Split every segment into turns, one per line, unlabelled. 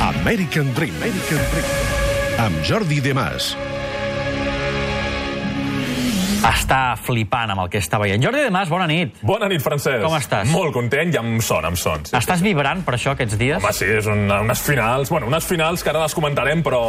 American Dream. American Dream. Amb Jordi De Mas.
Està flipant amb el que està veient. Jordi De Mas, bona nit.
Bona nit, Francesc.
Com estàs?
Molt content i amb son, amb son. Sí.
Estàs vibrant per això aquests dies?
Home, sí, és una, unes finals, bueno, unes finals que ara les comentarem, però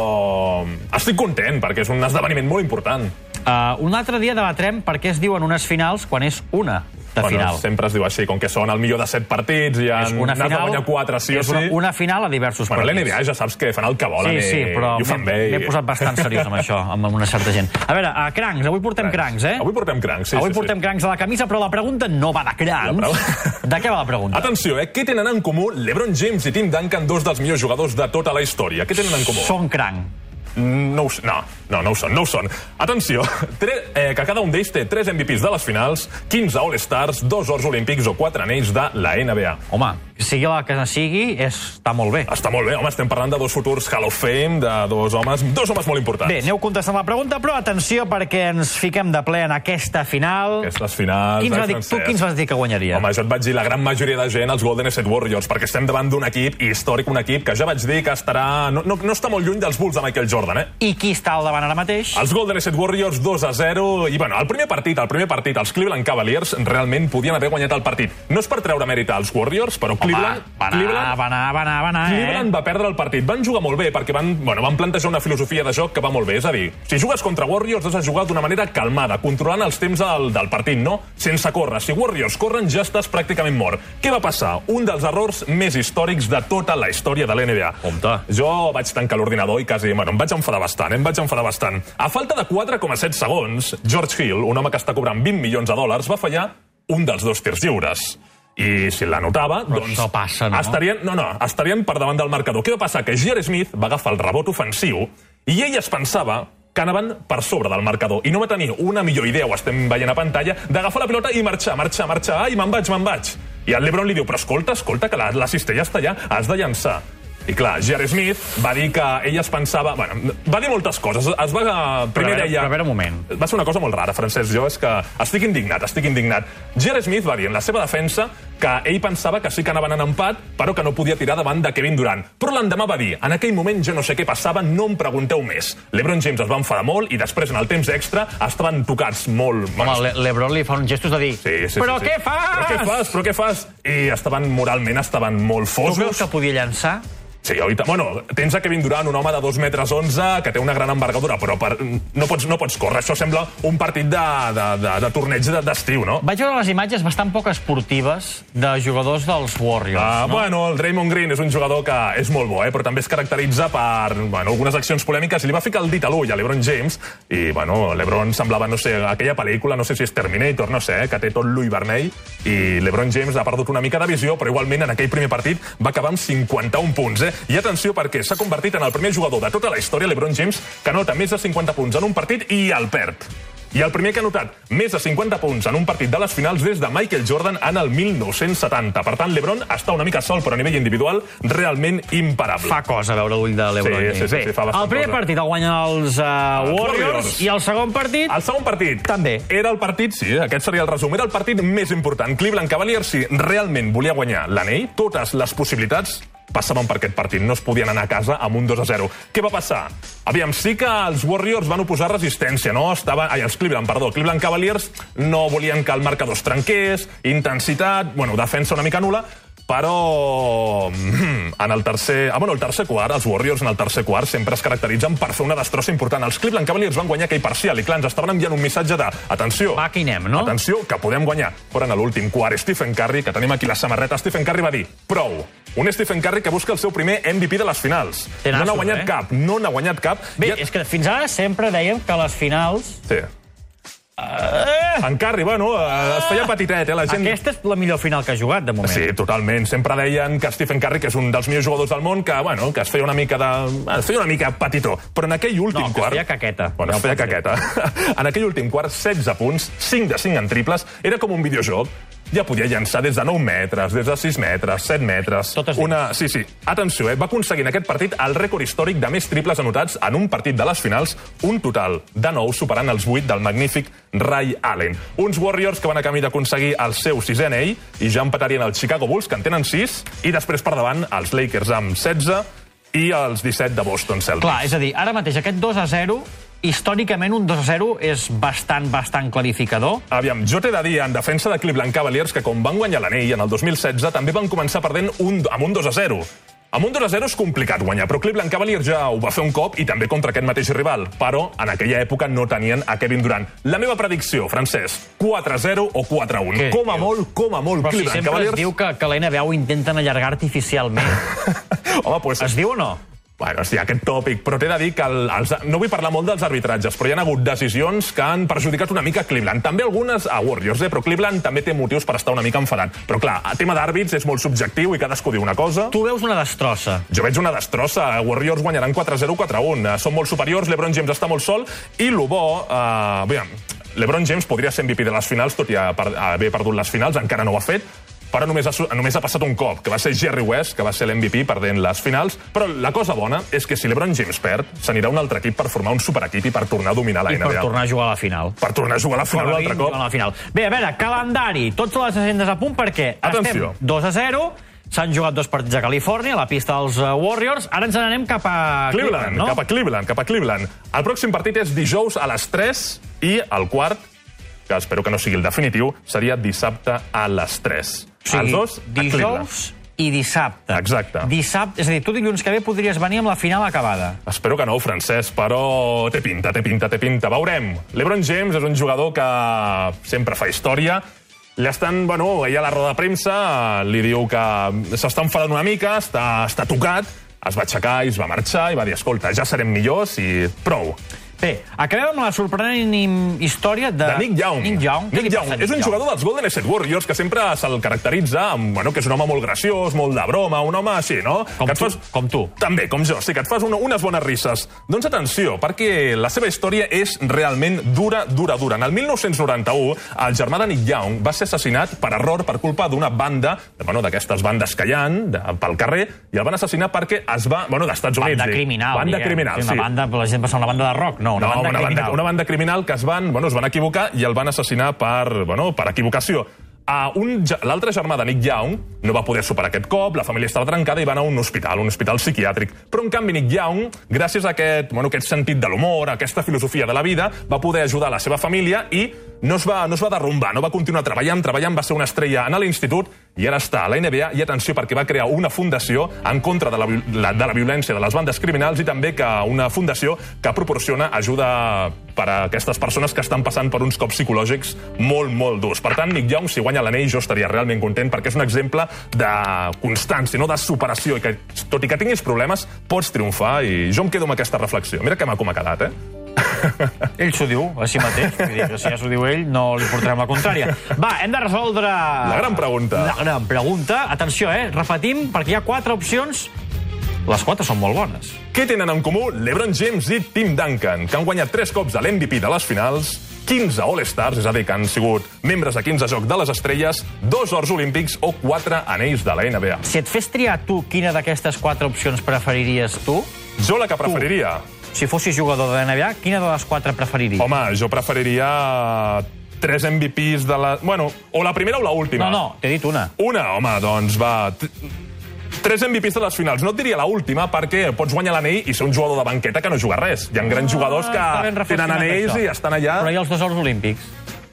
estic content perquè és un esdeveniment molt important.
Uh, un altre dia debatrem per què es diuen unes finals quan és una de final.
sempre es diu així, com que són el millor de set partits i
És
han
una
anat a
final,
guanyar quatre, sí o
és una,
sí.
una final a diversos
Bueno,
partits.
l'NBA ja saps que fan el que volen
Sí, sí,
i,
però
i ho fan bé.
m'he
i-
posat bastant seriós amb això, amb amb una certa gent. A veure, a crancs, avui portem crancs, eh?
Avui portem crancs, sí,
avui
sí,
portem
sí.
crancs a la camisa, però la pregunta no va de
La
crancs.
pregu-
De què va la pregunta?
Atenció, eh? Què tenen en comú LeBron James i Tim Duncan, dos dels millors jugadors de tota la història? Què tenen en comú?
Són cranc.
No, ho s- no, no, no ho són, no ho són. Atenció, tre, eh, que cada un d'ells té 3 MVPs de les finals, 15 All-Stars, 2 ors olímpics o 4 anells de la NBA.
Home, sigui la que sigui, és, està molt bé.
Està molt bé, home, estem parlant de dos futurs Hall of Fame, de dos homes, dos homes molt importants.
Bé, aneu contestant la pregunta, però atenció perquè ens fiquem de ple en aquesta final.
Aquestes finals...
Quins
eh,
va dir, tu
Francesc?
quins vas dir que guanyaria?
Home, jo et vaig dir la gran majoria de gent, els Golden State Warriors, perquè estem davant d'un equip històric, un equip que ja vaig dir que estarà... No, no, no està molt lluny dels Bulls de Michael Jordan, eh?
I qui està al davant ara mateix?
Els Golden State Warriors 2 a 0 i bueno, el primer partit, el primer partit, els Cleveland Cavaliers realment podien haver guanyat el partit. No és per treure mèrit als Warriors, però Cleveland,
va, va anar,
Cleveland,
va anar, va anar, va anar,
Cleveland
eh?
va perdre el partit. Van jugar molt bé perquè van, bueno, van plantejar una filosofia de joc que va molt bé. És a dir, si jugues contra Warriors has de jugar d'una manera calmada, controlant els temps del, del partit, no? Sense córrer. Si Warriors corren ja estàs pràcticament mort. Què va passar? Un dels errors més històrics de tota la història de l'NBA.
Compte.
Jo vaig tancar l'ordinador i quasi... Bueno, em vaig enfadar bastant, eh? em vaig enfadar bastant. A falta de 4,7 segons, George Hill, un home que està cobrant 20 milions de dòlars, va fallar un dels dos tirs lliures. I si l'anotava, doncs...
això passa, no?
Estarien, no, no, estarien per davant del marcador. Què va passar? Que J.R. Smith va agafar el rebot ofensiu i ell es pensava que anaven per sobre del marcador. I no va tenir una millor idea, ho estem veient a pantalla, d'agafar la pilota i marxar, marxar, marxar. Ai, me'n vaig, me'n vaig. I el Lebron li diu, però escolta, escolta, que la, la cistella està allà, has de llançar. I clar, J.R. Smith va dir que ell es pensava... Bueno, va dir moltes coses. Es va...
Però
Primer
a veure,
deia...
però a veure un moment.
Va ser una cosa molt rara, Francesc. Jo és que estic indignat, estic indignat. Jerry Smith va dir en la seva defensa que ell pensava que sí que anaven en empat, però que no podia tirar davant de Kevin Durant. Però l'endemà va dir, en aquell moment jo no sé què passava, no em pregunteu més. L'Ebron James es va enfadar molt i després, en el temps extra, estaven tocats molt.
Home, Le Lebron li fa uns gestos de dir...
Sí, sí,
però
sí, sí.
què fas?
Però què fas? Però què fas? I estaven, moralment, estaven molt
Tu creus
fosos.
que podia llançar?
Sí, oi, tant. bueno, tens a Kevin Durant, un home de 2 metres 11, que té una gran envergadura, però per, no, pots, no pots córrer. Això sembla un partit de, de, de, de torneig de- d'estiu, no?
Vaig veure les imatges bastant poc esportives de jugadors dels Warriors.
Uh, no? Bueno, el Draymond Green és un jugador que és molt bo, eh? però també es caracteritza per bueno, algunes accions polèmiques i li va ficar el dit a l'ull a l'Ebron James i bueno, l'Ebron semblava, no sé, aquella pel·lícula, no sé si és Terminator, no sé, eh? que té tot l'ull vermell i l'Ebron James ha perdut una mica de visió, però igualment en aquell primer partit va acabar amb 51 punts. Eh? I atenció perquè s'ha convertit en el primer jugador de tota la història, l'Ebron James, que nota més de 50 punts en un partit i el perd. I el primer que ha notat més de 50 punts en un partit de les finals des de Michael Jordan en el 1970. Per tant, l'Ebron està una mica sol, però a nivell individual realment imparable.
Fa cosa veure l'ull de l'Ebron.
Sí,
James.
sí, sí,
Bé,
sí, fa bastant
el primer
cosa.
partit el guanyen els uh, Warriors,
Warriors.
i el segon partit...
El segon partit.
També.
Era el partit, sí, aquest seria el resum. Era el partit més important. Cleveland Cavaliers, si realment volia guanyar l'anell, totes les possibilitats passaven per aquest partit. No es podien anar a casa amb un 2 a 0. Què va passar? Aviam, sí que els Warriors van oposar resistència, no? Estaven... Ai, els Cleveland, perdó. Cleveland Cavaliers no volien que el marcador es trenqués, intensitat, bueno, defensa una mica nula, però mm, en el tercer... Ah, bueno, el tercer quart, els Warriors en el tercer quart sempre es caracteritzen per fer una destrossa important. Els Cleveland Cavaliers van guanyar aquell parcial i, clar, ens estaven enviant un missatge de... Atenció,
Va, que hi anem, no?
atenció, que podem guanyar. Però en l'últim quart, Stephen Curry, que tenim aquí la samarreta, Stephen Curry va dir, prou. Un Stephen Curry que busca el seu primer MVP de les finals.
Té nassos,
no n'ha guanyat
eh?
cap, no n'ha guanyat cap.
Bé,
I-
és que fins ara sempre dèiem que les finals...
Sí. En Curry, bueno, eh, es feia petitet, eh? La gent...
Ah! Aquesta és la millor final que ha jugat, de moment.
Sí, totalment. Sempre deien que Stephen Curry, que és un dels millors jugadors del món, que, bueno, que es feia una mica de... es feia una mica petitó. Però en aquell últim
No, que es
quart...
feia caqueta.
Bueno,
Ja
es
ho
feia
pots dir.
caqueta. en aquell últim quart, 16 punts, 5 de 5 en triples, era com un videojoc. Ja podia llançar des de 9 metres, des de 6 metres, 7 metres...
Totes
una... Sí, sí. Atenció, eh? va aconseguir en aquest partit el rècord històric de més triples anotats en un partit de les finals, un total de 9, superant els 8 del magnífic Ray Allen. Uns Warriors que van a camí d'aconseguir el seu sisè anell i ja empatarien els Chicago Bulls, que en tenen 6, i després per davant els Lakers amb 16, i els 17 de Boston Celtics.
Clar, és a dir, ara mateix aquest 2 a 0, històricament un 2 a 0 és bastant, bastant clarificador.
Aviam, jo t'he de dir, en defensa de Cleveland Cavaliers, que com van guanyar l'anell en el 2016, també van començar perdent un, amb un 2 a 0. Amb un 2 a 0 és complicat guanyar, però Cleveland Cavaliers ja ho va fer un cop i també contra aquest mateix rival. Però en aquella època no tenien a Kevin Durant. La meva predicció, Francesc, 4 a 0 o 4 a 1.
Què
com a
dius?
molt, com a molt,
Però si
Cleveland
sempre Cavaliers...
Cavaliers...
es diu que, que la NBA ho intenten allargar artificialment.
Home, pues,
es diu o no?
Bueno, sí, aquest tòpic, però t'he de dir que el, els, no vull parlar molt dels arbitratges, però hi ha hagut decisions que han perjudicat una mica Cleveland. També algunes a Warriors, eh? però Cleveland també té motius per estar una mica enfadat. Però clar, el tema d'àrbits és molt subjectiu i cadascú diu una cosa.
Tu veus una destrossa.
Jo veig una destrossa. Warriors guanyaran 4-0, 4-1. Eh, Són molt superiors, LeBron James està molt sol i lo bo... Eh, bé, LeBron James podria ser MVP de les finals, tot i ha per- haver perdut les finals, encara no ho ha fet, però només ha, su- només ha passat un cop, que va ser Jerry West, que va ser l'MVP perdent les finals. Però la cosa bona és que si LeBron James perd, s'anirà a un altre equip per formar un superequip i per tornar a dominar la
I per
NBA.
tornar a jugar a la final.
per tornar a jugar a la final un altre
Jugar
cop.
a la final. Bé, a veure, calendari. Tots les agendes a punt perquè
Atenció.
estem 2 a 0, s'han jugat dos partits a Califòrnia, a la pista dels eh, Warriors. Ara ens n'anem cap a
Cleveland,
no?
cap a Cleveland, cap a Cleveland. El pròxim partit és dijous a les 3 i el quart, que espero que no sigui el definitiu, seria dissabte a les 3.
O sigui,
Els dos a Cleveland.
dijous i dissabte.
Exacte.
Dissabte, és a dir, tu dilluns que ve podries venir amb la final acabada.
Espero que no, Francesc, però té pinta, té pinta, té pinta. Veurem. L'Ebron James és un jugador que sempre fa història. L'estan, bueno, ahir a la roda de premsa eh, li diu que s'està enfadant una mica, està, està tocat, es va aixecar i es va marxar i va dir, escolta, ja serem millors i prou.
Bé, acabem amb la sorprenent im- història de...
de Nick Young.
Nick Young. Què li
Nick
passa
Young.
a
És un
Young?
jugador dels Golden State Warriors que sempre se'l caracteritza amb, bueno, que és un home molt graciós, molt de broma, un home així, no?
Com
que et
tu, com tu.
També, com jo. Sí, que et fas una, unes bones risses. Doncs atenció, perquè la seva història és realment dura, dura, dura. En el 1991, el germà de Nick Young va ser assassinat per error per culpa d'una banda, de, bueno, d'aquestes bandes que hi ha de, pel carrer, i el van assassinar perquè es va... Bueno, d'Estats Units.
Banda
dic.
criminal.
Banda
diguem.
criminal,
Sí,
sí.
Una banda, la gent pensa en una banda de rock. No, una
No,
banda
una,
criminal.
banda, una banda criminal que es van, bueno, es van equivocar i el van assassinar per, bueno, per equivocació. Uh, un, ge- L'altre germà de Nick Young no va poder superar aquest cop, la família estava trencada i va anar a un hospital, un hospital psiquiàtric. Però, en canvi, Nick Young, gràcies a aquest, bueno, aquest sentit de l'humor, a aquesta filosofia de la vida, va poder ajudar la seva família i no es, va, no es va derrumbar, no va continuar treballant, treballant, va ser una estrella a l'institut i ara està a la NBA i atenció perquè va crear una fundació en contra de la, viol- la, de la violència de les bandes criminals i també que una fundació que proporciona ajuda per a aquestes persones que estan passant per uns cops psicològics molt, molt durs. Per tant, Nick Young, si guanya l'anell, jo estaria realment content perquè és un exemple de constància, no de superació, i que tot i que tinguis problemes, pots triomfar i jo em quedo amb aquesta reflexió. Mira que maco m'ha quedat, eh?
Ell s'ho diu a si mateix. Vull dir que si ja s'ho diu ell, no li portarem la contrària. Va, hem de resoldre... La
gran pregunta.
La gran pregunta. Atenció, eh? Repetim, perquè hi ha quatre opcions. Les quatre són molt bones.
Què tenen en comú LeBron James i Tim Duncan, que han guanyat 3 cops a l'MVP de les finals, 15 All-Stars, és a dir, que han sigut membres de 15 Jocs de les Estrelles, dos Horts Olímpics o 4 anells de la NBA?
Si et fes triar tu quina d'aquestes quatre opcions preferiries tu,
Jo la que preferiria...
si fossis jugador de NBA, quina de les quatre preferiries?
Home, jo preferiria 3 MVPs de la... Bueno, o la primera o la última.
No, no, t'he dit una.
Una, home, doncs va... t- Tres MVPs de les finals. No et diria l'última perquè pots guanyar l'anell i ser un jugador de banqueta que no juga res. Hi ha grans jugadors
Ah, Està ben
que
reflexionat,
tenen anells
això.
i estan allà...
Però hi ha els dos Jocs Olímpics.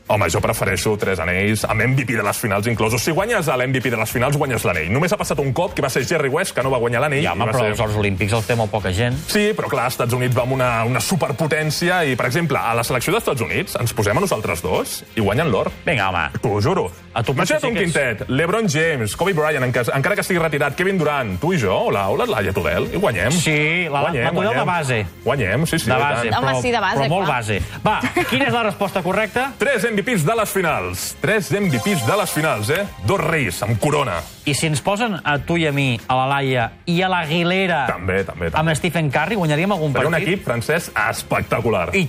Home, jo prefereixo tres anells, amb MVP de les finals inclosos. Si guanyes a l'MVP de les finals, guanyes l'anell. Només ha passat un cop, que va ser Jerry West, que no va guanyar l'anell.
Ja, home,
i va
però
ser-
els Jocs Olímpics els té molt poca gent.
Sí, però clar, als Estats Units va amb una, una superpotència i, per exemple, a la selecció dels Estats Units ens posem a nosaltres dos i guanyen l'or.
Vinga, home.
T'ho juro.
A tu potser
Imagina't
sí
un
que és-
quintet, LeBron James, Kobe Bryant, en cas, encara que estigui retirat, Kevin Durant, tu i jo, o la, o la Laia Tudel, i guanyem.
Sí, la- la Tudel de base.
Guanyem, sí, sí.
De
i
base.
tant.
Home, sí, de base,
Però molt
clar.
base. Va, quina és la resposta correcta?
Tres MVPs de les finals. Tres MVPs de les finals, eh? Dos reis, amb corona.
I si ens posen a tu i a mi, a la Laia i a l'Aguilera
També, també, també.
amb Stephen Curry, guanyaríem algun
Seria un
partit?
equip francès espectacular.
I